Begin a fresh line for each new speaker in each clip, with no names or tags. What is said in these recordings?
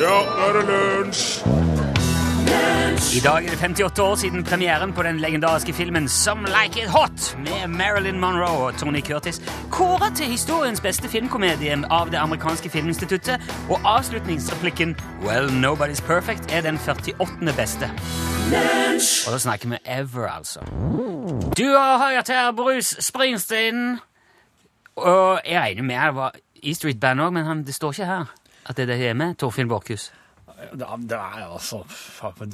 Ja, nå er det lunsj!
I dag er det 58 år siden premieren på den legendariske filmen Some Like It Hot med Marilyn Monroe og Tony Curtis, kåret til historiens beste filmkomedie av det amerikanske filminstituttet, og avslutningsreplikken Well, Nobody's Perfect er den 48. beste. Og da snakker vi ever, altså. Du har hørt her Bruce Springsteen, og jeg regner med det var E Street Band òg, men han, det står ikke her at det er det jeg er med. Torfinn Borchhus.
Det er, det er altså faen,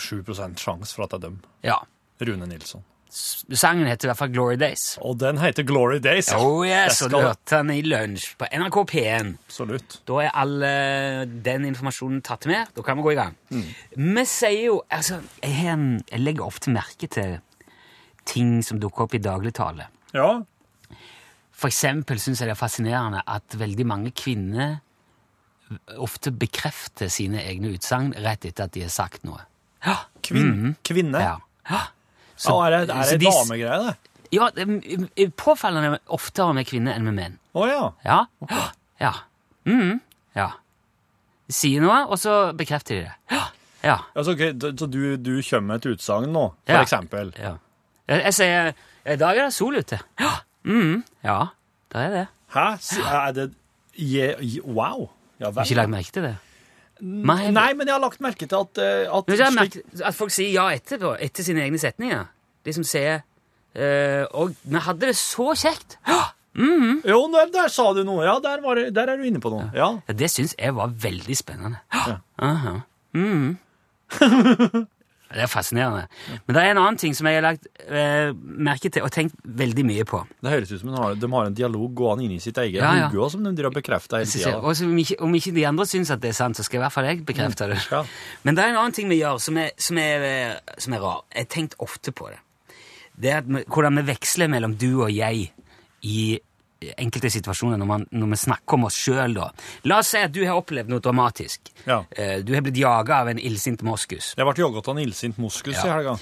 97 sjanse for at det er dem.
Ja.
Rune Nilsson.
S- Sangen heter i hvert fall Glory Days.
Og den heter Glory Days. ja.
Oh yes,
Det skal
og du
det.
hørte den i lunsj på NRK P1.
Absolutt.
Da er all eh, den informasjonen tatt med. Da kan vi gå i gang.
Mm.
Vi sier jo Altså, jeg, har en- jeg legger ofte merke til ting som dukker opp i dagligtale.
Ja,
For eksempel syns jeg det er fascinerende at veldig mange kvinner ofte bekrefter sine egne utsagn rett etter at de har sagt noe. Ja.
kvin kvinne.
Mhm. ja. ja. Så-
Ja, er det, er
så
det
de-
damegreie, det?
Ja, det er påfallende oftere med kvinner enn med menn.
Å ja.
Ja. Ja. Mhm. ja. De sier noe, og så bekrefter de det. Ja. Ja.
Altså, ok, d- Så du, du kommer med et utsagn nå, for
Ja.
eksempel.
ja. Jeg, jeg sier I dag er det sol ute. Ja. Mhm. ja. Det er det.
Hæ? S- Er det je, je, Wow. Ja,
Har ikke
vel.
lagt merke til det. Nei.
Nei, men jeg har lagt merke til at, eh, at
Men så har jeg
slik-
merket at folk sier ja etterpå, etter sine egne setninger. De som sier eh, Og vi hadde det så kjekt! Ja.
Jo, der, der sa du noe. Ja, der, var, det- der er du inne på noe. Ja.
Ja, Det syns jeg var veldig spennende.
Ja.
Aha. Mhm. det er fascinerende. Men det er en annen ting som jeg har lagt eh, merke til og tenkt veldig mye på.
Det høres ut som de har, de har en dialog gående inne i sitt eget
Ja, ja.
hode, og som de driver og bekrefter hele
Så sier jeg,
tida.
Og så om, ikke, om ikke de andre syns at det er sant, så skal i hvert fall jeg bekrefte det.
Mm. Ja.
Men det er en annen ting vi gjør som er, som er, eh, som er rar. Jeg har tenkt ofte på det. Det er at vi, hvordan vi veksler mellom du og jeg i enkelte situasjoner når, man, når vi snakker om oss sjøl. La oss si at du har opplevd noe dramatisk.
Ja.
Eh, Du har blitt jaga av en illsint moskus.
Jeg ble jaget av en illsint moskus i
Ja.
helga.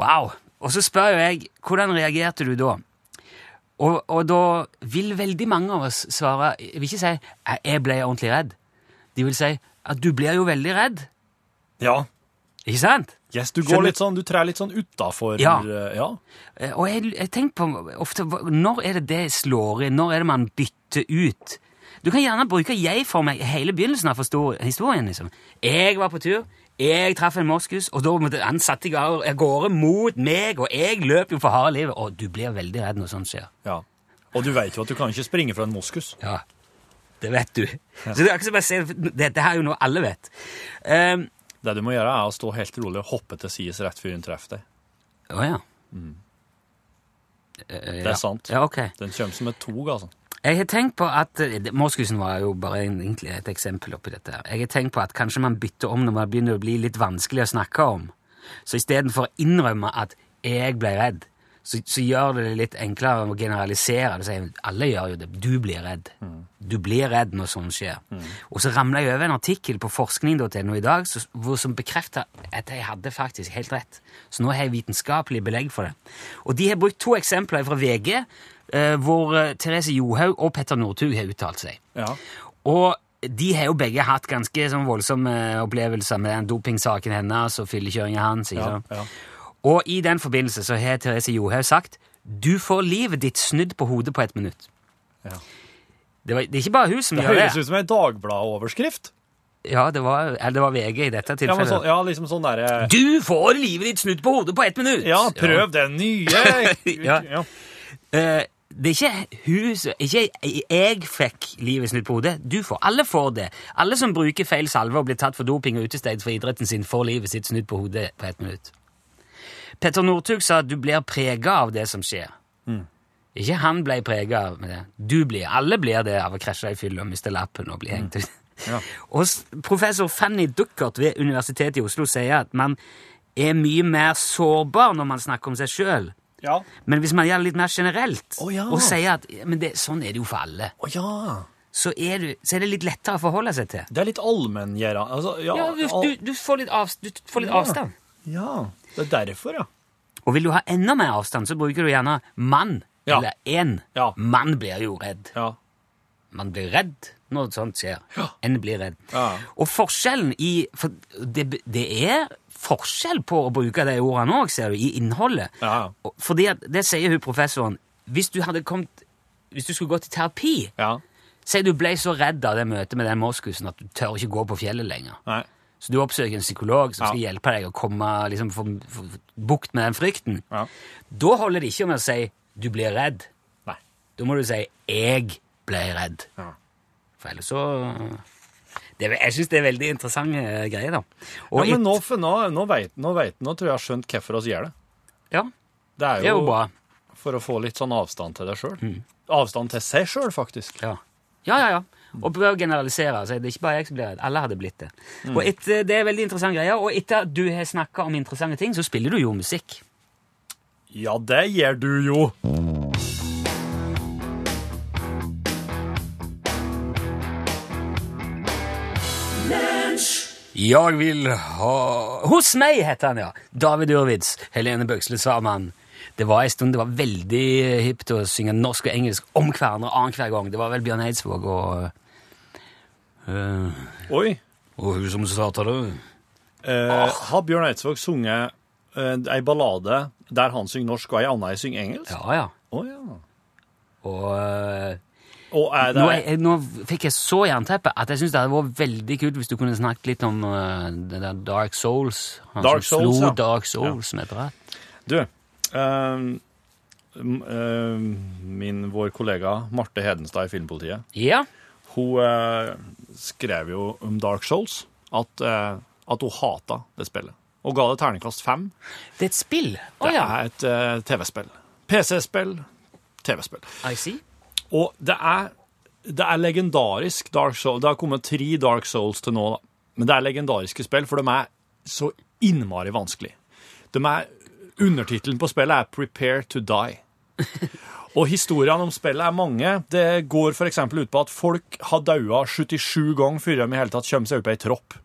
Wow! Og så spør jo jeg, hvordan reagerte du da? Og, og da vil veldig mange av oss svare, jeg vil ikke si, «Jeg- jeg ble ordentlig redd. De vil si, at du blir jo veldig redd,
Ja.
ikke sant?
Yes, du går
Skjønner.
litt sånn, du trær litt sånn utafor
Ja.
eh, ja.
Eh, Og jeg, jeg tenker på ofte, hva- når er det det slår inn? Når er det man bytter ut? Du kan gjerne bruke jeg for meg i hele begynnelsen av forsto- historien. liksom. Jeg var på tur, jeg traff en moskus, og da måtte han satte jeg av av gårde mot meg, og jeg løp jo for harde livet, og du blir veldig redd når sånt skjer.
ja. Og du vet jo at du kan ikke springe fra en moskus.
Ja, det vet du. Så det er ikke som jeg sier, dette her er jo noe alle vet. Ehm,
Det du må gjøre, er å stå helt rolig og hoppe til sides rett før hun treffer deg.
Å ja. Eh,
Mm. Det er sant.
Ja, ok.
Den kommer som et tog, altså.
Jeg har tenkt på at eh, det- Moskusen var jo bare en, egentlig et eksempel oppi dette. her. Jeg har tenkt på at kanskje man bytter om når man begynner å bli litt vanskelig å snakke om. Så istedenfor å innrømme at 'jeg ble redd', så, så gjør det det litt enklere å generalisere. Du sier, Alle gjør jo det. Du blir redd. Du blir redd når sånt skjer. Og så ramla jeg over en artikkel på forskning.no i dag så, hvor, som bekrefter at jeg hadde faktisk helt rett. Så nå har jeg vitenskapelig belegg for det. Og de har brukt to eksempler fra VG eh, hvor eh, Therese Johaug og Petter Northug har uttalt seg.
Ja.
Og de har jo begge hatt ganske sånn voldsomme opplevelser med den dopingsaken hennes og fyllekjøringa hans. Ikke
Ja,
sant?
ja.
Og i den forbindelse så har Therese Johaug sagt du får livet ditt snudd på hodet på et minutt.
Ja.
Det, var, det er ikke bare hun som
Det
gjør det.
høres ut som ei Dagbladet-overskrift.
Ja, det var, eller det var VG i dette
Ja, men
tilfellet.
sånn, ja, liksom sånn derre
Du får livet ditt snudd på hodet på ett minutt!
Ja, prøv den nye!
Ja.
ja.
Eh, det er ikke hun som- Ikke jeg fikk livet snudd på hodet. Du får. Alle får det. Alle som bruker feil salve og blir tatt for doping og utestengt fra idretten sin, får livet sitt snudd på hodet på ett minutt. Petter Northug sa at du blir prega av det som skjer. Ikke han ble prega av det. Du blir. Alle blir det av å krasje i fylla og miste lappen og bli hengt ut.
Ja.
Og s- professor Fanny Duckert ved Universitetet i Oslo sier at man er mye mer sårbar når man snakker om seg sjøl.
Ja.
Men hvis man gjør det litt mer generelt
Å, ja.
og sier at ja, men det, sånn er det jo for alle,
Å ja.
så er, du, så er det litt lettere å forholde seg til.
Det er litt allmenngjøra. Altså, ja,
Ja, du,
al-
du, du får litt, av, du får litt
Ja.
avstand.
ja. Det er derfor, ja.
Og vil du ha enda mer avstand, så bruker du gjerne mann.
Ja.
Eller en.
Ja.
Man blir jo redd.
Ja.
Man blir redd når sånt skjer.
Ja.
En blir redd.
Ja.
Og forskjellen i For det, det er forskjell på å bruke de ordene òg, ser du, i innholdet.
Ja.
Og- Fordi at, Det sier hun professoren. Hvis du hadde kommet Hvis du skulle gått i terapi
Ja.
Si du ble så redd av det møtet med den moskusen at du tør ikke gå på fjellet lenger.
Nei.
Så du oppsøker en psykolog som
Ja.
skal hjelpe deg å komme, liksom, få, få få bukt med den frykten.
Ja.
Da holder det ikke med å si 'du blir redd'.
Nei.
Da må du si 'jeg ble redd'.
Ja.
For ellers så eh, det, er- Jeg syns det er veldig interessante eh, greier, da. Og
ja,
et-
men nå, for nå, nå veit nå, vet- nå tror jeg jeg har skjønt hvorfor oss gjør det.
ja,
Det er jo,
det er jo bra. Mm.
for å få litt sånn avstand til deg sjøl. Avstand til seg sjøl, faktisk.
Ja. ja, ja, ja. Og prøv å generalisere. Altså, det er ikke bare jeg som blir redd. Alle hadde blitt det.
Mm.
Og et, eh, det er veldig interessante greier. Og etter at du har snakka om interessante ting, så spiller du jo musikk.
Ja, det gjør du jo.
Jeg vil ha Hos meg, heter han, ja. David Urwitz. Helene Bøksle Svarmann. Det var en stund det var veldig hipt å synge norsk og engelsk om hverandre annenhver gang. Det var vel Bjørn Eidsvåg og eh,
Oi.
Og hun som starta det. Ah.
Eh, har Bjørn Eidsvåg sunget eh, ei ballade der han synger norsk, og ei anna synger engelsk? Å
Ja, ja.
ja.
Og eh,
Og er det
nå, jeg, nå fikk jeg så jernteppe at jeg syns det hadde vært veldig kult hvis du kunne snakket litt om eh, det der Dark Souls. Han
Dark
som
Souls,
slo
ja.
Dark Souls med et rett.
Du, ehm, m- ehm, min, vår kollega Marte Hedenstad i Filmpolitiet,
Ja.
hun eh, skrev jo om Dark Souls at, eh, at hun hata det spillet. Og ga det terningkast fem.
Det er et spill. Å
Det
ja.
er et eh, TV-spill. PC-spill, TV-spill.
I see.
Og det er, det er legendarisk Dark Souls. Det har kommet tre Dark Souls til nå, da. Men det er legendariske spill, for de er så innmari vanskelig. De er, undertitelen på spillet er 'Prepare to Die'. Og historiene om spillet er mange. Det går f.eks. ut på at folk har daua 77 ganger før de i hele tatt kommer seg opp i ei tropp.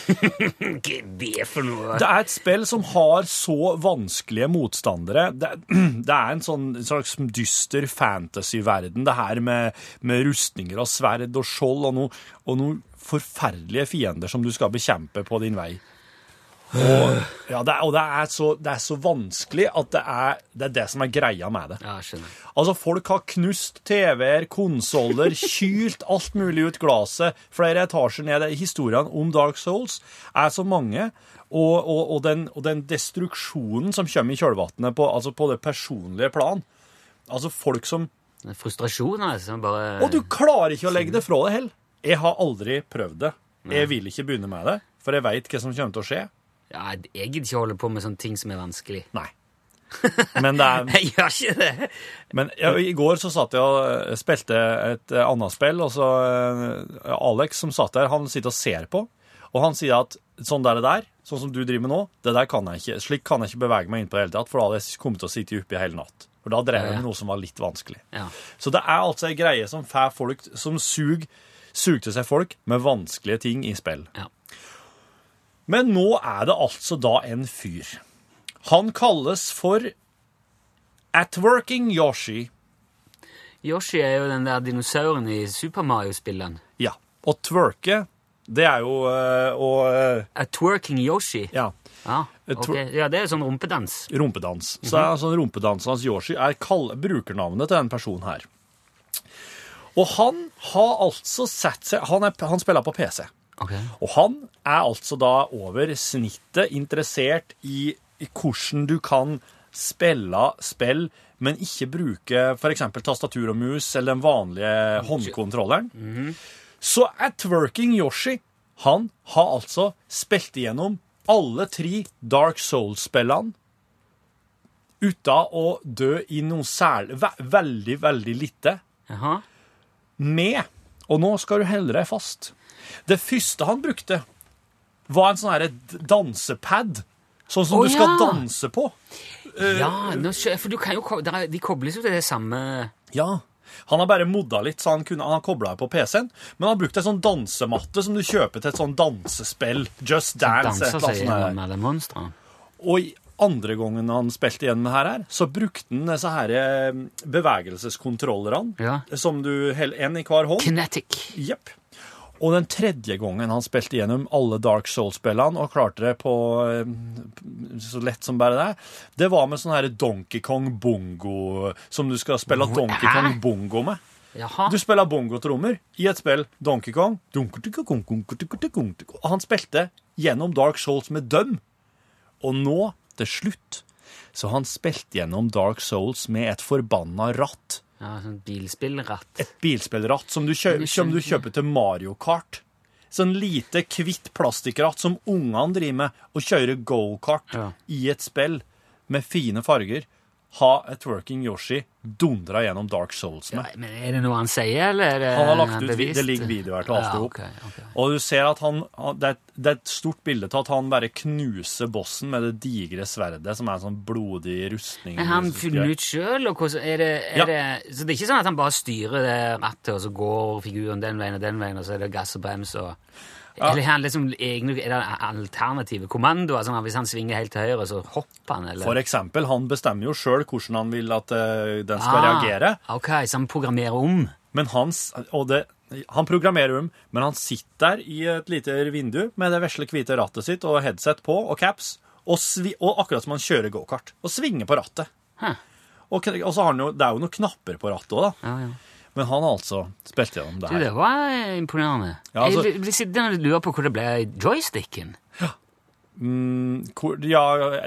Hva er det for noe?
Det er et spill som har så vanskelige motstandere. Det, det er en sånn en slags dyster fantasy-verden, det her med, med rustninger og sverd og skjold og noen og noe forferdelige fiender som du skal bekjempe på din vei. Og, ja, det, er- og det, er så, det er så vanskelig at det er, det er det som er greia med det.
Ja, skjønner.
Altså, folk har knust TV-er, konsoller, kylt alt mulig ut glasset, flere etasjer ned. Historiene om Dark Souls er så mange, og, og, og, den, og den destruksjonen som kommer i kjølvannet på, altså på det personlige plan. Altså folk som
Det er Frustrasjon, altså. Bare
Og du klarer ikke å legge det fra deg heller! Jeg har aldri prøvd det. Jeg vil ikke begynne med det, for jeg veit hva som kommer til å skje.
ja, Jeg gidder ikke holde på med sånne ting som er vanskelig.
Nei. Men det er
Jeg gjør ikke det!
Men ja, i går så satt jeg og eh, spilte et eh, annet spill, og så eh, Alex som satt der, han sitter og ser på, og han sier at sånn der det der, sånn som du driver med nå, det der kan jeg ikke, slik kan jeg ikke bevege meg inn på det hele tatt, for da hadde jeg kommet til å sitte oppe i hele natt. For da drev
Ja,
jeg
ja.
med noe som var litt vanskelig.
Ja.
Så det er altså en greie som fær folk, som sug, sug til seg folk med vanskelige ting i spill.
Ja.
Men nå er det altså da en fyr. Han kalles for Atworking Yoshi.
Yoshi er jo den der dinosauren i Super Mario-spillene.
Ja. Å twerke, det er jo eh, å eh,
A twerking Yoshi.
Ja.
Ja,
Jeg tror-
ok. ja, det er sånn rumpedans.
Rumpedans. Så er altså rumpedansernes Yoshi er kall brukernavnet til den personen her. Og han har altså sett seg Han, er, han spiller på PC.
Ok.
Og han er altså da over snittet interessert i, i hvordan du kan spille spill, men ikke bruke f.eks. tastatur og mus eller den vanlige håndkontrolleren. Så Atworking Yoshi han har altså spilt igjennom alle tre Dark Souls-spillene uten å dø i noe særlig ve Veldig, veldig lite
Jaha.
med, og nå skal du helle deg fast. Det første han brukte, var en sånn her d- dansepad, sånn som
Å,
du skal
ja.
danse på.
Ja, nå, skjø- for du kan jo, ko- der er- de kobles jo til det samme
Ja, han har bare modda litt, så han, kunne, han har kobla på PC-en, men han har brukt en sånn dansematte som du kjøper til et sånn dansespill, Just Dance, et
danser
eller annet
seg
sånt der.
gjennom alle monstrene.
Og, Andre gangen han spilte igjen med her, her, så brukte han disse her eh, bevegelseskontrollerne.
Ja.
Som du holder én i hver hånd.
Kinetic.
Jepp. Og den tredje gangen han spilte gjennom alle Dark Souls-spillene og klarte det på eh, så lett som bare det, det var med sånn her Donkey Kong Bongo som du skal spille Donkey Kong Bongo med.
Jaha.
Du spiller bongotrommer i et spill Donkey Kong. Og han spilte gjennom Dark Souls med døm. Og nå, til slutt, så har han spilt gjennom Dark Souls med et forbanna ratt.
Ja, sånn bilspillratt.
Et bilspillratt som du, kjø
Jeg skjønner
som du kjøper til Mario Kart. Sånn lite, kvitt plastikkratt som ungene driver med, og kjører go-kart
Ja.
i et spill med fine farger. Ha et Working Yoshi dundra gjennom Dark Souls med.
Men er det noe han sier, eller er det
Han har lagt ut, vi-
bevist?
Det ligger videoer til alt
ja,
i hop.
ok, ok.
Og du ser at han, han- det er, et, det er et stort bilde til at han bare knuser bossen med det digre sverdet, som er en sånn blodig rustning.
Men har han funnet ut sjøl, og hvordan er det, er
Ja.
det Så det er ikke sånn at han bare styrer det rattet, og så går figuren den veien og den veien, og så er det gass og brems og Eller er, han liksom, egentlig- er det alternative kommandoer? Sånn at hvis han svinger helt til høyre, så hopper han, eller
For eksempel, han bestemmer jo sjøl hvordan han vil at eh, den skal reagere.
Ah, ok, så han programmerer om.
Men hans, og det, han programmerer dem, men han sitter der i et lite vindu med det vesle hvite rattet sitt og headset på og caps, og, svi, og akkurat som han kjører gokart, og svinger på rattet.
Hæ.
Og, k- og så har han jo, det er jo noen knapper på rattet òg, da.
Ja, ja.
Men han har altså spilt gjennom det
Du,
her.
det var eh, imponerende.
Ja, altså-
jeg blir- blir sittende og lure på hvor det ble av joysticken.
Hvor, ja,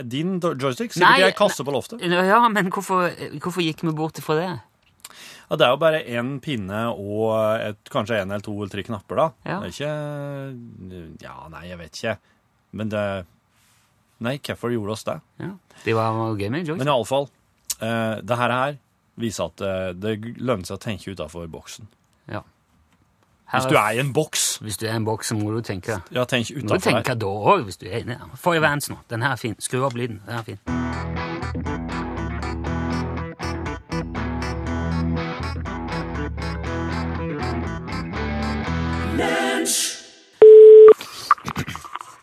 din do- joystick sikkert
Nei,
i ei kasse på loftet.
Ja, men hvorfor, hvorfor gikk vi bort ifra det?
Ja, det er jo bare én pinne og et, kanskje én eller to eller tre knapper, da.
Ja.
Det er ikke Ja, nei, jeg vet ikke. Men det Nei, hvorfor gjorde oss det?
Ja. Det var var gøy med joystick.
Men iallfall, eh, det her, her viser at eh, det lønner seg å tenke utafor boksen.
Ja.
Hvis du er i en boks,
Hvis du er en boks, så må du tenke.
ja, tenk
Du må
utafor
tenke da òg, hvis du er inne. Få i vans nå. Den her er fin. Skru opp lyden. Den her er fin.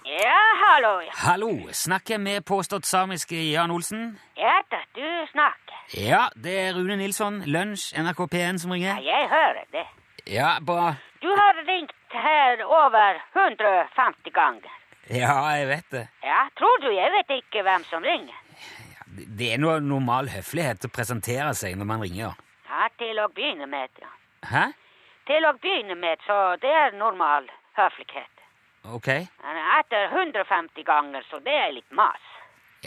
Ja, hallo, ja.
Hallo! Snakker jeg med påstått samiske Jan Olsen?
Ja da, du snakker.
Ja, det er Rune Nilsson, Lunsj, NRK P1 som ringer.
Jeg hører det.
Ja, bra.
Du har ringt her over 150 ganger.
Ja, jeg vet det.
Ja, tror du jeg vet ikke hvem som ringer?
Det er noe normal høflighet å presentere seg når man ringer.
Ja, til å begynne med, ja.
Hæ?
Til å begynne med, så det er normal høflighet.
Ok.
Men Etter 150 ganger, så det er litt mas.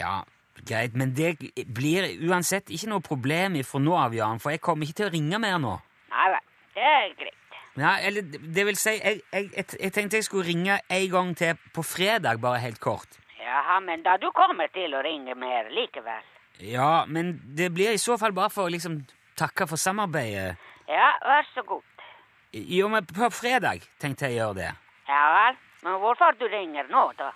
Ja, greit, men det blir uansett ikke noe problem ifra nå av, Jan, for jeg kommer ikke til å ringe mer nå.
Nei vel, det er greit.
Ja, eller det vil si, jeg, jeg, jeg, jeg tenkte jeg skulle ringe en gang til på fredag, bare helt kort.
Jaha, men da du kommer til å ringe mer likevel.
Ja, men det blir i så fall bare for å liksom takke for samarbeidet.
Ja, vær så god.
Jo, men på fredag tenkte jeg å gjøre det.
Ja vel, men hvorfor du ringer nå, da?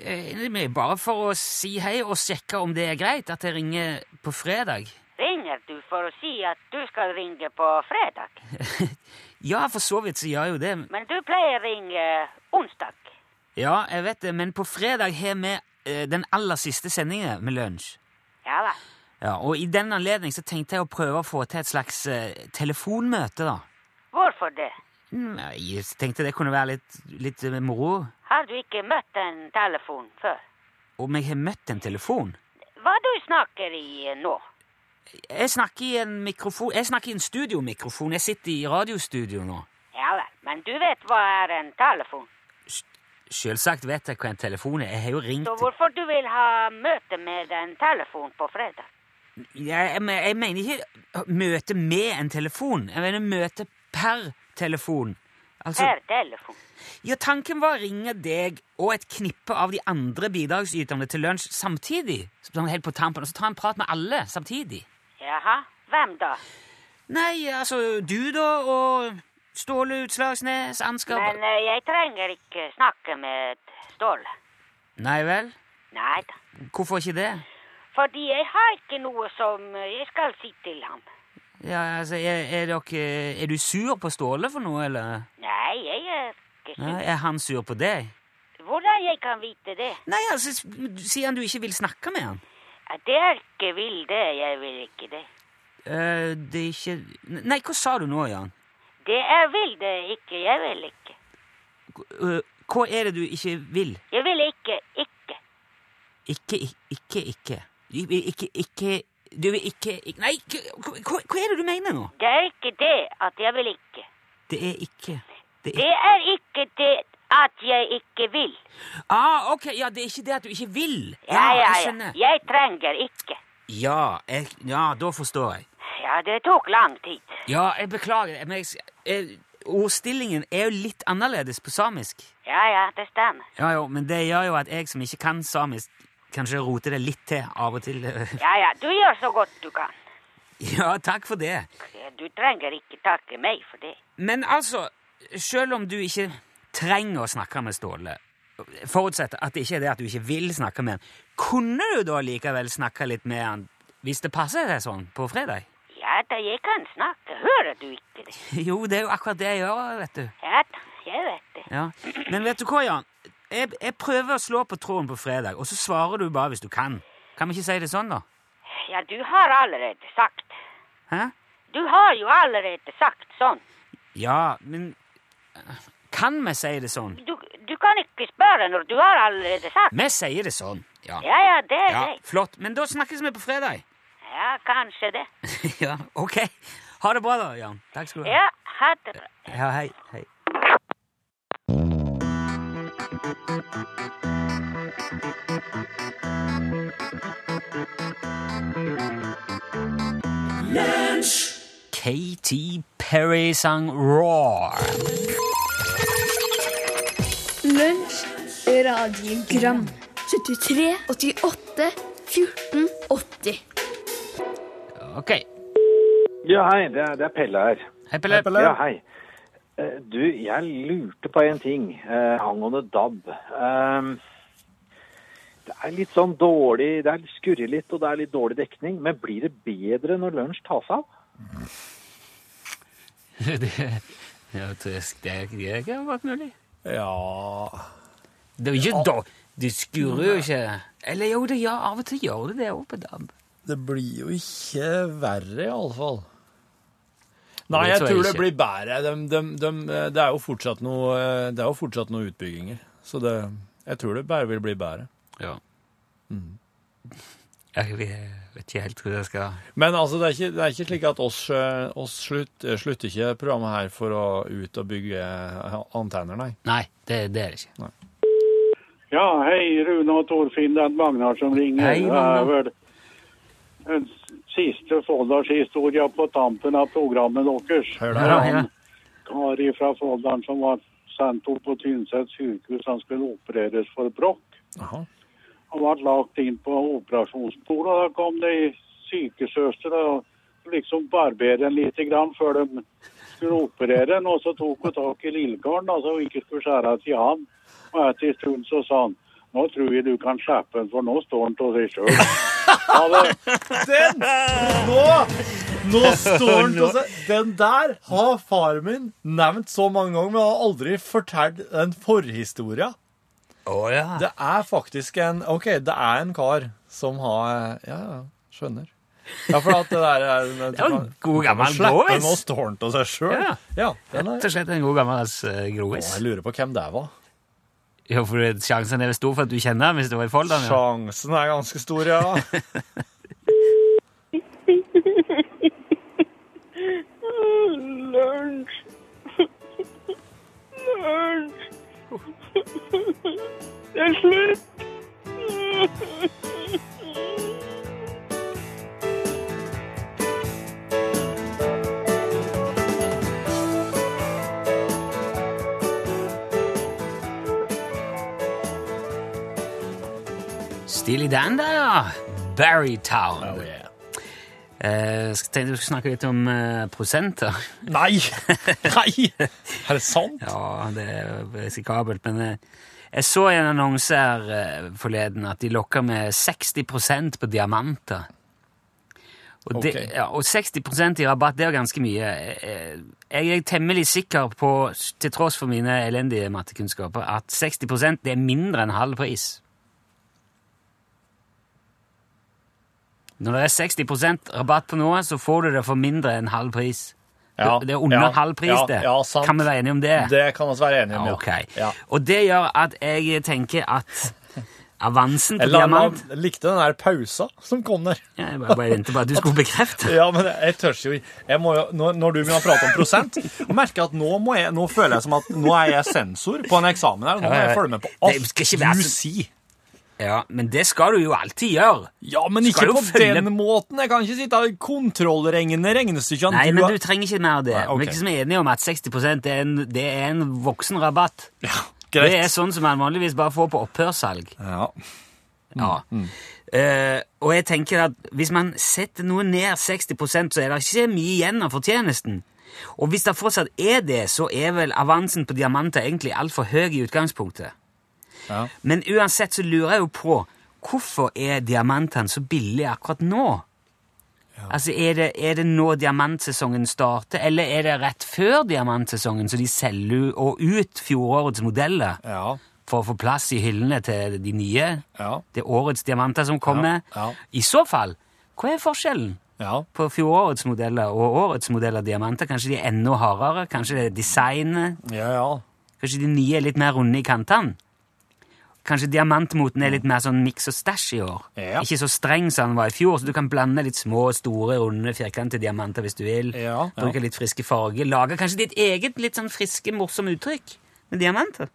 Eh, men Bare for å si hei og sjekke om det er greit at jeg ringer på fredag.
Ringer du for å si at du skal ringe på fredag?
Ja, for så vidt så gjør jeg jo det.
Men du pleier å ringe eh, onsdag.
Ja, jeg vet det, men på fredag har vi eh, den aller siste sendingen med lunsj.
Ja vel.
Ja, og i den anledning så tenkte jeg å prøve å få til et slags eh, telefonmøte, da.
Hvorfor det?
Mm, Jeg tenkte det kunne være litt, litt eh, moro.
Har du ikke møtt en telefon før?
Om jeg har møtt en telefon?
Hva du snakker i eh, nå?
Jeg snakker i en mikrofon Jeg snakker i en studiomikrofon. Jeg sitter i radiostudio nå.
Ja vel, men du vet hva er en telefon.
Selvsagt vet jeg hva en telefon er. Jeg har jo ringt
Så hvorfor du vil ha møte med en telefon på fredag?
jeg, jeg, men- jeg mener ikke møte med en telefon. Jeg mener møte per telefon. Altså,
Per telefon.
ja, Tanken var å ringe deg og et knippe av de andre bidragsyterne til lunsj samtidig. Sånn helt på tampen, Og så ta en prat med alle samtidig.
Jaha, hvem da?
Nei, altså du, da, og Ståle Utslagsnes, Ansgar
Men eh, jeg trenger ikke snakke med Ståle.
Nei vel?
Nei da.
Hvorfor ikke det?
Fordi jeg har ikke noe som eh, jeg skal si til ham.
Ja, altså, er, er, dere, er du sur på Ståle for noe, eller?
Nei, jeg er ikke
Nei,
sur.
er han sur på deg?
hvordan jeg kan vite det?
Nei, altså, s- sier han du ikke vil snakke med han?
Ja, det er ikke vil det, jeg vil ikke det.
Eh, det er ikke Nei, hva sa du nå, Jan?
Det er vil det ikke, jeg vil ikke.
Eh, hva er det du ikke vil?
Jeg vil ikke, ikke.
Ikke, ik- ikke, ikke. Du vil ikke, ikke Du vil ikke, ikke Nei, k- hva, hva er det du mener nå?
Det er ikke det at jeg vil ikke.
Det er ikke Det er
Det er ikke det at jeg ikke vil.
Ah, ok, ja, det er ikke det at du ikke vil.
Ja, ja,
jeg
ja.
skjønner.
Jeg trenger ikke.
Ja, jeg, ja, da forstår jeg.
Ja, det tok lang tid.
Ja, jeg beklager, men jeg, jeg, ordstillingen er jo litt annerledes på samisk.
Ja, ja, det stemmer.
Ja, jo, men det gjør jo at jeg som ikke kan samisk, kanskje roter det litt til av og til.
Ja, ja, du gjør så godt du kan.
Ja, takk for det.
Du trenger ikke takke meg for det.
Men altså, selv om du ikke trenger å snakke med Ståle, forutsett at det ikke er det at du ikke vil snakke med han, kunne du da likevel snakke litt med han hvis det passer deg sånn på fredag?
Ja da, jeg kan snakke. Hører du ikke det?
Jo, det er jo akkurat det jeg gjør, vet du.
Ja da, jeg vet det.
Ja. Men vet du hva, Jan? Jeg, jeg prøver å slå på tråden på fredag, og så svarer du bare hvis du kan. Kan vi ikke si det sånn, da?
Ja, du har allerede sagt.
Hæ?
Du har jo allerede sagt sånn.
Ja, men eh, Kan vi si det sånn?
Du, du kan ikke spørre når du har allerede sagt.
Vi sier det sånn. Ja.
Ja, ja, det er
ja.
greit.
Flott. Men da snakkes vi på fredag.
Ja, kanskje det.
ja, OK. Ha det bra, da, Jan. Takk skal du ha.
Ja, ha det bra.
Ja, hei. hei. Katy Perry sang Roar.
Lunsj, radiogram 73, 88, 14, 80
Ok.
Ja, hei. Det er, det er Pelle her.
Hei, Pelle.
Hei, Pelle.
Ja, hei. Eh, Du, jeg lurte på en ting eh, angående DAB. Ehm, det er litt sånn dårlig Det er skurrer litt, og det er litt dårlig dekning. Men blir det bedre når lunsj tas av?
det, ja, det, det, det kan ha vært mulig.
Ja
Det er jo ikke da. Du skurrer jo ikke. Eller jo, det gjør, av og til gjør det det òg på DAB.
Det blir jo ikke verre, iallfall. Nei,
Det
jeg
tror jeg
tror det
ikke.
blir bedre. Dem- dem- dem, eh, det, er jo fortsatt noe, eh, det er jo fortsatt noe utbygginger. Så det, jeg tror det bare vil bli bedre.
Ja. Mm. Jeg vet vet ikke helt hvor jeg skal
Men altså, det er ikke, det er ikke slik at oss, eh, oss slutt, eh, slutter ikke programmet her for å ut og bygge eh, antenner, nei.
Nei, det, det er det ikke.
Ja, hej Rune och Torfinn, det är Magnar som ringer.
Hej, Magnar.
Det är väl en sista foldarshistoria på tampen av programmet åkers.
Hør
Ja,
der, ja.
ja.
Kari från Foldan som var sendt på Tynset sjukhus, han skulle opereras för bråck.
Jaha.
Han var lagt in på operationsbordet och då kom det psykesöster och liksom barberade en lite grann för de skulle operera den och så tog hon tag i lillkarlen alltså och inte skulle skära till han. Och efter en stund så sa han nu tror jag du kan släppa den för nu står han till sig själv. Ja, det,
Den! Nå! Nå står han til seg. Den der har far min nevnt så mange ganger, men han har aldri fortalt den forhistoria.
Å ja.
Det er faktisk en OK, det er en kar som har Ja, ja, skjønner. Ja, for at det der er
Det er jo en god gammel
Slippe
grovis.
nå stålen av seg sjøl.
Ja.
ja den er,
Rett og slett en god gammeldags eh,
å,
grovis.
jeg lurer på hvem det var.
Ja, for det- Sjansen er vel stor for at du kjenner ham hvis du var i Folldalen. Ja.
Sjansen er ganske stor, ja.
Lunsj. Lunsj. Det er slutt.
Still i den der, ja. Barrytown.
Oh, yeah.
Eh, skal- tenkte vi skulle snakke litt om eh, prosenter.
Nei! Nei! Er det sant?
Ja, det er risikabelt, men eh, jeg så i en annonse her eh, forleden at de lokker med 60 på diamanter. Og, det,
Ok.
ja, og 60 i rabatt, det er jo ganske mye. Eh, Jeg er temmelig sikker på, til tross for mine elendige mattekunnskaper, at 60 det er mindre enn halv pris. Når det er 60 rabatt på noe, så får du det for mindre enn halv pris.
Ja,
det, det er under
ja,
halv pris,
ja,
det.
ja, sant.
Kan vi være enige om det?
Det kan vi være enige om, ja.
Ok.
ja.
Og det gjør at jeg tenker at avansen
Jeg
på
la-
diamant
la- likte den der pausa som kom der.
Ja, Jeg bare, bare venter på at du skulle bekrefte.
Ja, men jeg tør ikke å- jeg må jo, når, når du begynner å prate om prosent og merker at nå, må jeg, nå føler jeg som at nå er jeg sensor på en eksamen her, og nå må
Ja, ja, ja.
jeg følge med på
Det
alt
skal ikke være
du
så-
sier.
Ja, Men det skal du jo alltid gjøre.
Ja, men ikke
Skal jo
på
følge-
den måten. Jeg kan ikke sitte og kontrollregne regnestykkene.
Nei, men
har-
du trenger ikke mer av det.
Nei, ok.
Vi er ikke som er enige om at 60 er en, det er en voksen rabatt.
Ja,
Det er
greit.
sånn som man vanligvis bare får på opphørssalg.
Ja.
Ja.
Mm,
Eh, og jeg tenker at hvis man setter noe ned 60 så er det ikke mye igjen av fortjenesten. Og hvis det fortsatt er det, så er vel avansen på diamanter egentlig altfor høy i utgangspunktet.
Ja.
Men uansett så lurer jeg jo på hvorfor er diamantene så billige akkurat nå? Altså, er det, er det nå diamantsesongen starter, eller er det rett før diamantsesongen, så de selger u- og ut fjorårets modeller
Ja.
for å få plass i hyllene til de nye?
Ja.
Det er årets diamanter som kommer.
Ja, ja.
I så fall, hva er forskjellen?
Ja.
På fjorårets modeller og årets modeller diamanter, kanskje de er enda hardere, kanskje det er designet,
Ja, ja.
Kanskje de nye er litt mer runde i kantene? Kanskje diamantmoten er litt mer sånn miks og stæsj i år?
Ja.
Ikke så streng som den var i fjor, så du kan blande litt små, store, runde, firkantede diamanter hvis du vil.
Ja, ja.
Bruke litt friske farger. Lage kanskje ditt eget litt sånn friske, morsomme uttrykk med diamanter.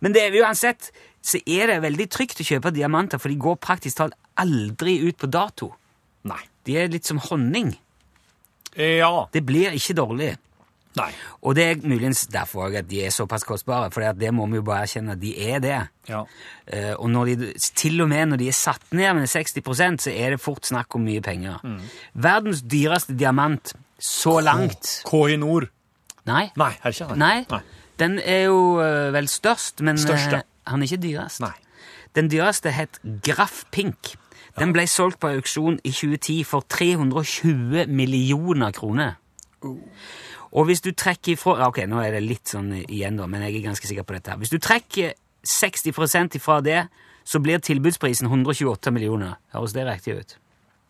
Men det, er uansett så er det veldig trygt å kjøpe diamanter, for de går praktisk talt aldri ut på dato.
Nei.
De er litt som honning.
Ja.
Det blir ikke dårlig.
Nei.
Og det er muligens derfor også at de er såpass kostbare, for det må vi jo bare erkjenne at de er det.
Ja.
Eh, og når de, til og med når de er satt ned med 60 så er det fort snakk om mye penger.
Mm.
Verdens dyreste diamant så langt
Kohinor.
Nei.
Nei, er det ikke det?
Nei.
Nei.
Den er jo eh, vel størst, men eh,
Største.
han er ikke dyrest.
Nei.
Den dyreste het Graff Pink. Den ble solgt på auksjon i 2010 for 320 millioner kroner. Og hvis du trekker ifra ja, Ok, nå er det litt sånn igjen, da, men jeg er ganske sikker på dette. her. Hvis du trekker 60 ifra det, så blir tilbudsprisen 128 millioner. Høres det riktig ut?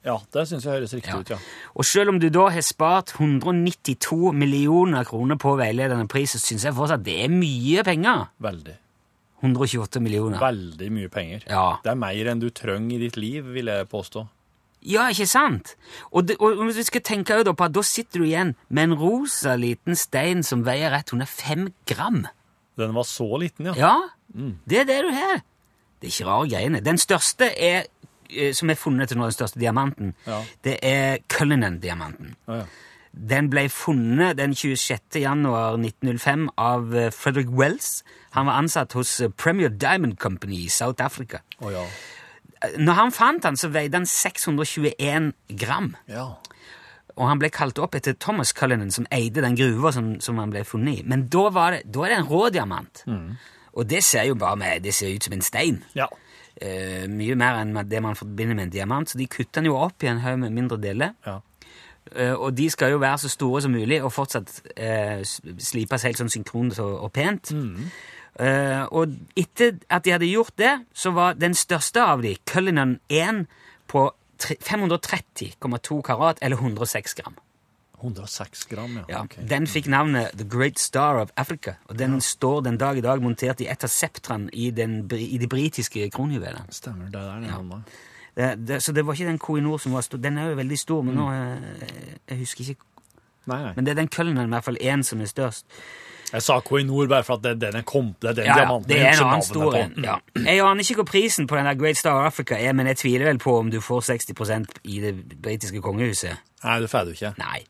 Ja, det syns jeg høres riktig
Ja.
ut, ja.
Og selv om du da har spart 192 millioner kroner på veiledende pris, så syns jeg fortsatt det er mye penger.
Veldig.
128 millioner.
Veldig mye penger.
Ja.
Det er mer enn du trenger i ditt liv, vil jeg påstå.
Ja, ikke sant? Og, det, og hvis du skal tenke jo da på at da sitter du igjen med en rosa liten stein som veier rett under fem gram.
Den var så liten, ja.
Ja,
Mm.
det er det du har. Det er ikke rare greiene. Den største er, eh, som er funnet til nå, den største diamanten,
Ja.
det er Cullinan-diamanten.
Ja, ja.
Den ble funnet den 26. januar 1905 av eh, Frederick Wells. Han var ansatt hos eh, Premier Diamond Company i South Africa.
Å, ja.
Eh, Når han fant den, så veide den 621 gram.
ja.
Og han ble kalt opp etter Thomas Cullinan, som eide den gruva som, som han ble funnet i. Men da, var det, da er det en rå diamant. Og det ser jo bare med, det ser ut som en stein.
Ja.
Eh, mye mer enn det man forbinder med en diamant. Så de kutter den jo opp i en haug med mindre deler.
Ja.
Eh, og de skal jo være så store som mulig og fortsatt eh, s- slipes helt sånn synkront og, og pent. Eh, og etter at de hadde gjort det, så var den største av de, Cullinan 1, på tre- 530,2 karat, eller 106 gram.
106 gram, ja.
Ja,
Ok.
Den fikk navnet The Great Star of Africa, og den står den dag i dag montert i et av septrene i, den, bri- i de britiske kronjuvelene.
Stemmer det der, ja. Anna.
Det, det, så det var ikke den Koinor som var stor. Den er jo veldig stor,
Mm.
men nå eh, jeg husker ikke.
Nei, nei.
Men det er den Cullinan, i hvert fall én, som er størst.
Jeg sa Kohinor bare for at det er den jeg kom Det er den diamanten
det
jeg
er en
husker
annen
navnet på.
stor en. Ja. Jeg aner ikke hva prisen på den der Great Star of Africa er, men jeg tviler vel på om du får 60 i det britiske kongehuset.
Nei, det får du ikke.
Nei.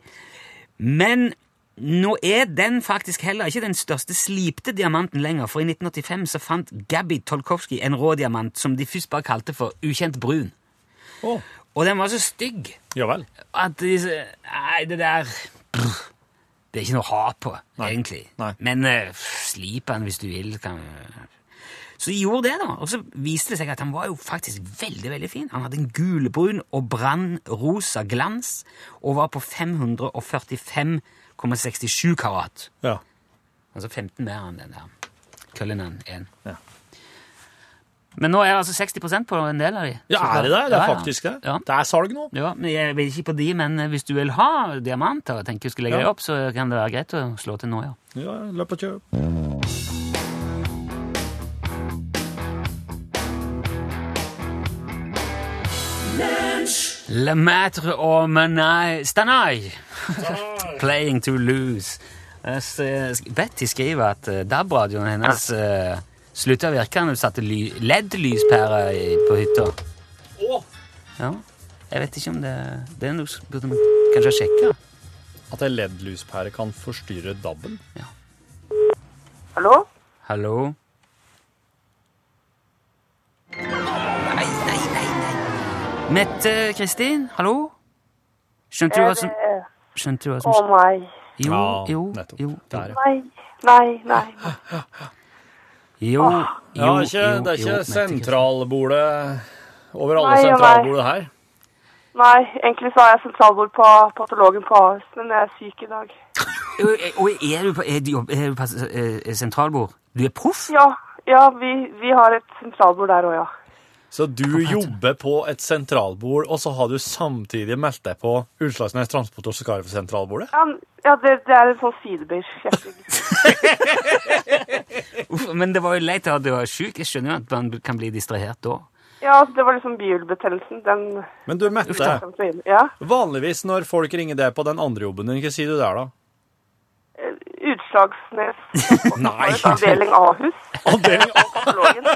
Men nå er den faktisk heller ikke den største slipte diamanten lenger, for i 1985 så fant Gabby Tolkowski en rå diamant som de først bare kalte for ukjent brun.
Å,
Og den var så stygg
ja vel.
at de s- Nei, det der brr, Det er ikke noe å ha på, egentlig.
nei.
Men eh, slip den hvis du vil. Kan, Så de gjorde det, da. Og så viste det seg at han var jo faktisk veldig veldig fin. Han hadde en gulbrun og brannrosa glans og var på 545,67 karat.
Ja.
Altså 15 mer enn den der Cullinan 1.
Ja.
Men nå er det altså 60 på en del av de.
Ja,
Så
er det det? Det
klart. Ja,
er
ja.
faktisk det.
Ja.
Det er salg nå.
Ja, men Jeg vil ikke på de, men hvis du vil ha diamanter og tenker du skal legge
Ja.
deg opp, så kan det være greit å slå til nå, ja.
Ja, løp og kjøp.
Le maître au menai stanai. Playing to lose. Eh, s- eh, sk- Betty skriver at eh, DAB-radioen hennes uh, slutta å virke når du satte ly- LED-lyspærer i- på hytta.
Å!
Ja. Jeg vet ikke om det Det er noe som burde man kanskje sjekke.
At en LED-lyspære kan forstyrre dabben.
Hallo?
Hallo? Nei, nei, nei, nei. Mette Kristin, hallo? Skjønte du hva som Skjønte du hva som
Eh, Å nei.
Jo,
Ja,
jo,
nettopp.
jo.
Det er det.
Nei, nei, nei.
Jo, jo,
Ah.
Ja, det er ikke,
jo,
det er
jo,
ikke
Mette
sentralbordet over alle
Nei, og
sentralbordet her.
Nei, egentlig så har jeg sentralbord på patologen på Ahus, men jeg er syk i dag.
Kristin. Og og er du på, er du, jobb- er du på eh, sentralbord? Du er proff?
Ja, ja vi, vi har et sentralbord der òg, ja.
Så du jobber på et sentralbord, og så har du samtidig meldt deg på Utslagsnes Transport og Skarv-sentralbordet?
Ja, men- ja det, det er en sånn sidebirsjekking.
Uff, men det var jo leit at du var sjuk. Jeg skjønner jo at man kan bli distrahert da.
Ja, altså, det var liksom bihulebetennelsen. Den
Men du, Mette,
kom så inn. Ja.
vanligvis når folk ringer deg på den andre jobben din, hva sier du der, da?
Utslagsnes.
Nei.
Avdeling Ahus.
Avdeling
Patologen.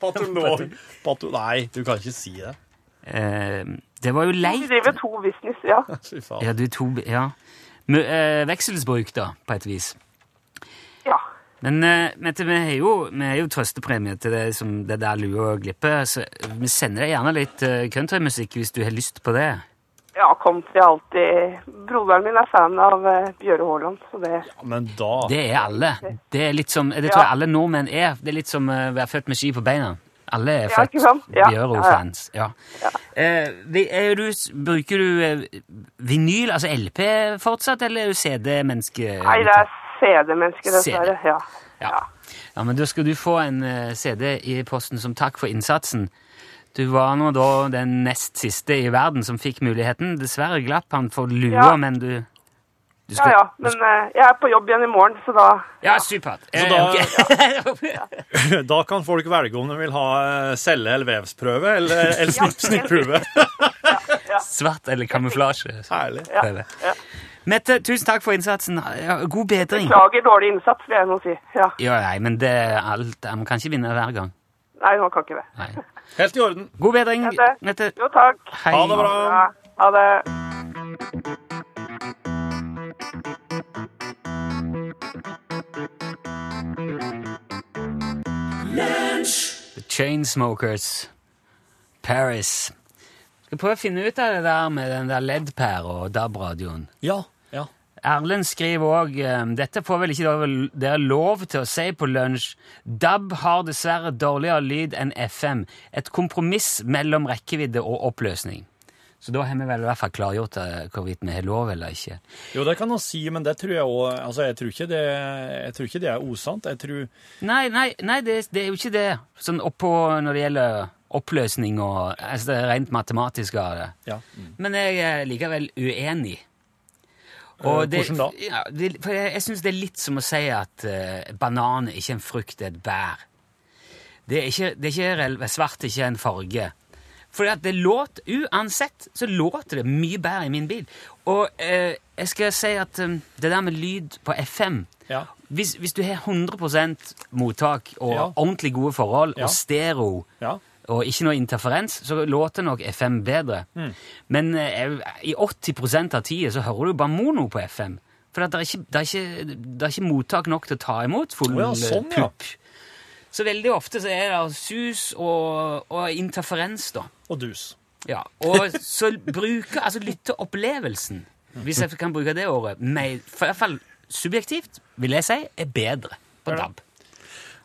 Patolog. Pato... Nei, du kan ikke si det.
Eh, det var jo
Vi
leit.
driver to business, ja.
Fy faen.
Ja, du to Ja. Mø- eh, Vekselsbruk, da, på et vis.
ja.
Men eh, Mette, vi har jo, vi har jo trøstepremie til det som det der lue og glippe, så vi sender deg gjerne litt eh, countrymusikk hvis du har lyst på det.
Ja, kom til alltid. Broderen min er fan av eh, Bjøre Haaland, så det
Men da
Det er alle. Det er litt som, det
Ja.
tror jeg alle nordmenn er. Det er litt som eh, å være født med ski på beina. Alle er
Ja,
født
ikke sant? Ja,
Bjøro-fans. Ja. Eh, vi- er du, s- bruker du eh, vinyl, altså LP, fortsatt, eller er du CD-menneske?
Nei, det er CD-mennesker, dessverre. Ja.
Ja. ja, men da skal du få en eh, CD i posten som takk for innsatsen. Du var nå da den nest siste i verden som fikk muligheten. Dessverre glapp han for lua,
Ja.
men du, du
ja ja. Men eh, jeg er på jobb igjen i morgen, så da
Ja, supert. Eh,
da-
ok.
Da kan folk velge om de vil ha eh, celle- eller vevsprøve eller, eller snipp, snipprøve.
Svart eller kamuflasje.
Herlig.
Prøve. Mette, tusen takk for innsatsen. Ja, God bedring.
Klager dårlig innsats, vil jeg nå si. Ja.
Ja, nei, men det er alt. Man kan ikke vinne hver gang.
Nei, man kan ikke det.
Nei.
Helt i orden.
God bedring,
Ja, det.
Mette.
Jo, takk.
Hei.
Ha det bra.
Ja, ha det.
The Chainsmokers. Paris. Skal prøve å finne ut av det der med den der LED-pæra og DAB-radioen.
Ja. ja.
Erlend skriver òg dette får vel ikke dere- dere lov til å si på lunsj. DAB har dessverre dårligere lyd enn FM. Et kompromiss mellom rekkevidde og oppløsning. Så da har vi vel i hvert fall klargjort eh, hvorvidt vi har lov eller ikke.
Jo, det kan man si, men det tror jeg òg Altså, jeg tror, ikke det, jeg tror ikke det er osant. Jeg tror
Nei, nei, nei det, det er jo ikke det. Sånn oppå når det gjelder oppløsning og altså det er rent matematisk av det.
Ja.
Men jeg er likevel uenig. Og
Eh, hvordan da?
Ja, det, for jeg jeg syns det er litt som å si at eh, banan er ikke en frukt, det er et bær. Det er ikke, det er ikke rel- svart er ikke en farge. Fordi at det låt, Uansett så låter det mye bedre i min bil. Og eh, jeg skal si at eh, det der med lyd på FM
Ja.
hvis, hvis du har 100 mottak og
Ja.
ordentlig gode forhold
Ja.
og stereo
Ja.
og ikke noe interferens, så låter nok FM bedre.
Mm.
Men eh, i 80 av tida så hører du bare mono på FM. For at det, er ikke, det, er ikke, det er ikke mottak nok til å ta imot full eh,
Å ja, sånn, ja.
pupp. Så veldig ofte så er det sus og, og interferens, da.
Og dus.
Ja, og så bruker, altså lytteopplevelsen, hvis jeg kan bruke det året, meg, for i hvert fall subjektivt, vil jeg si, er bedre på DAB.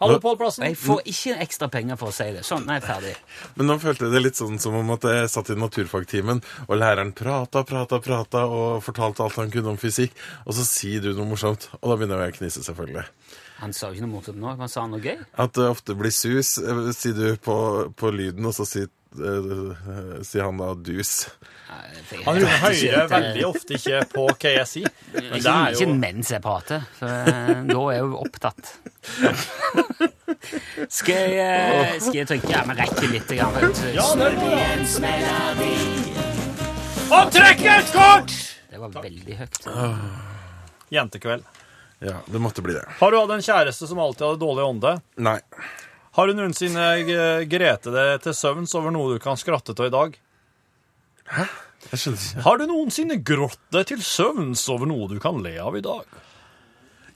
Hallo, Pål Plassen.
Og jeg får ikke ekstra penger for å si det. Sånn, nå er jeg ferdig.
Men nå følte jeg det litt sånn som om at jeg satt i naturfagtimen, og læreren prata, prata, prata og fortalte alt han kunne om fysikk, og så sier du noe morsomt, og da begynner jeg å knise, selvfølgelig.
Han sa jo ikke noe morsomt nå. Han sa noe gøy.
At det ofte blir sus, eh, sier du på, på lyden, og så sier, eh, sier han da dus.
Han hører veldig ofte ikke på hva jeg sier. Men det
Ikke,
er
ikke
jo
mens jeg prater, så eh, da er jeg jo opptatt. skal, jeg, eh, skal jeg trykke? Ja, men rekker litt. Grann, vet du.
Ja, det er bra. Og trekk et kort!
Det var veldig høyt.
Jentekveld.
Ja, det måtte bli det.
Har du hatt en kjæreste som alltid hadde dårlig ånde?
Nei.
Har du noensinne eh, grete deg til søvns over noe du kan skratte av i dag?
Jeg skjønner ikke.
Har du noensinne grått deg til søvns over noe du kan le av i dag?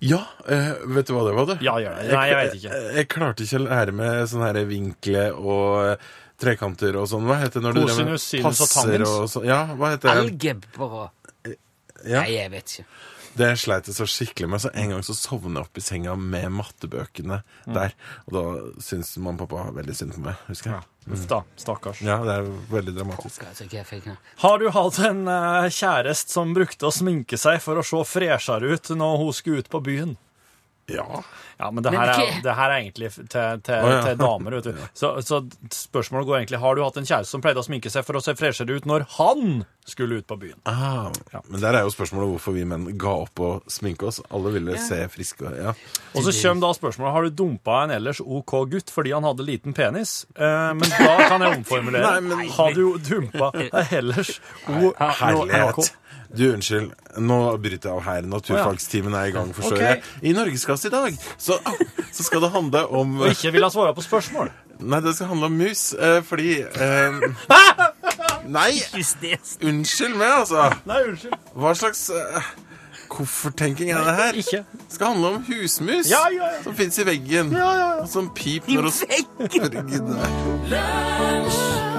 Ja, eh, vet du hva det var, du?
Ja, gjør det. Nei, jeg vet ikke.
Jeg, jeg klarte ikke å lære meg sånne her vinkle og eh, trekanter og sånn. Hva heter det når du driver med
Kosinus, sinus og
passer
tangens?
og sånn? Ja, hva heter det?
Algebra
Ja.
Nei, jeg vet ikke.
Det sleit jeg så skikkelig med, så en gang så sovna jeg opp i senga med mattebøkene der. Og da syntes mamma og pappa veldig synd på meg, husker jeg.
Uff da, stakkars.
Ja, det er veldig dramatisk.
Skal jeg trykke? Jeg fikk nå.
Har du hatt en eh, kjæreste som brukte å sminke seg for å se freshere ut når hun skulle ut på byen?
Ja.
Ja, men det
Men
her er,
ikke-
det her er egentlig til, til,
ja.
til damer, vet du. Så, så spørsmålet går egentlig har du hatt en kjæreste som pleide å sminke seg for å se freshere ut når han skulle ut på byen?
Ah, Men der er jo spørsmålet hvorfor vi menn ga opp å sminke oss. Alle ville se friske ut. Ja.
Og så kommer da spørsmålet har du dumpa en ellers OK gutt fordi han hadde liten penis. Eh, men da kan jeg omformulere.
Nei, men-
Har du dumpa en ellers OK
Herlighet. Du, unnskyld. Nå bryter jeg av her. Naturfagstimen er i gang, forstår
Ok.
jeg. I Norgesklasse i dag så, så skal det handle om
Og ikke ville ha svara på spørsmål.
Nei, det skal handle om mus, eh, fordi eh, Nei, unnskyld meg, altså.
Nei, unnskyld.
Hva slags uh, kofferttenking er det her?
Ikke.
Det skal handle om husmus
Ja, ja, ja.
som fins i veggen. Og som pip når hun I veggen!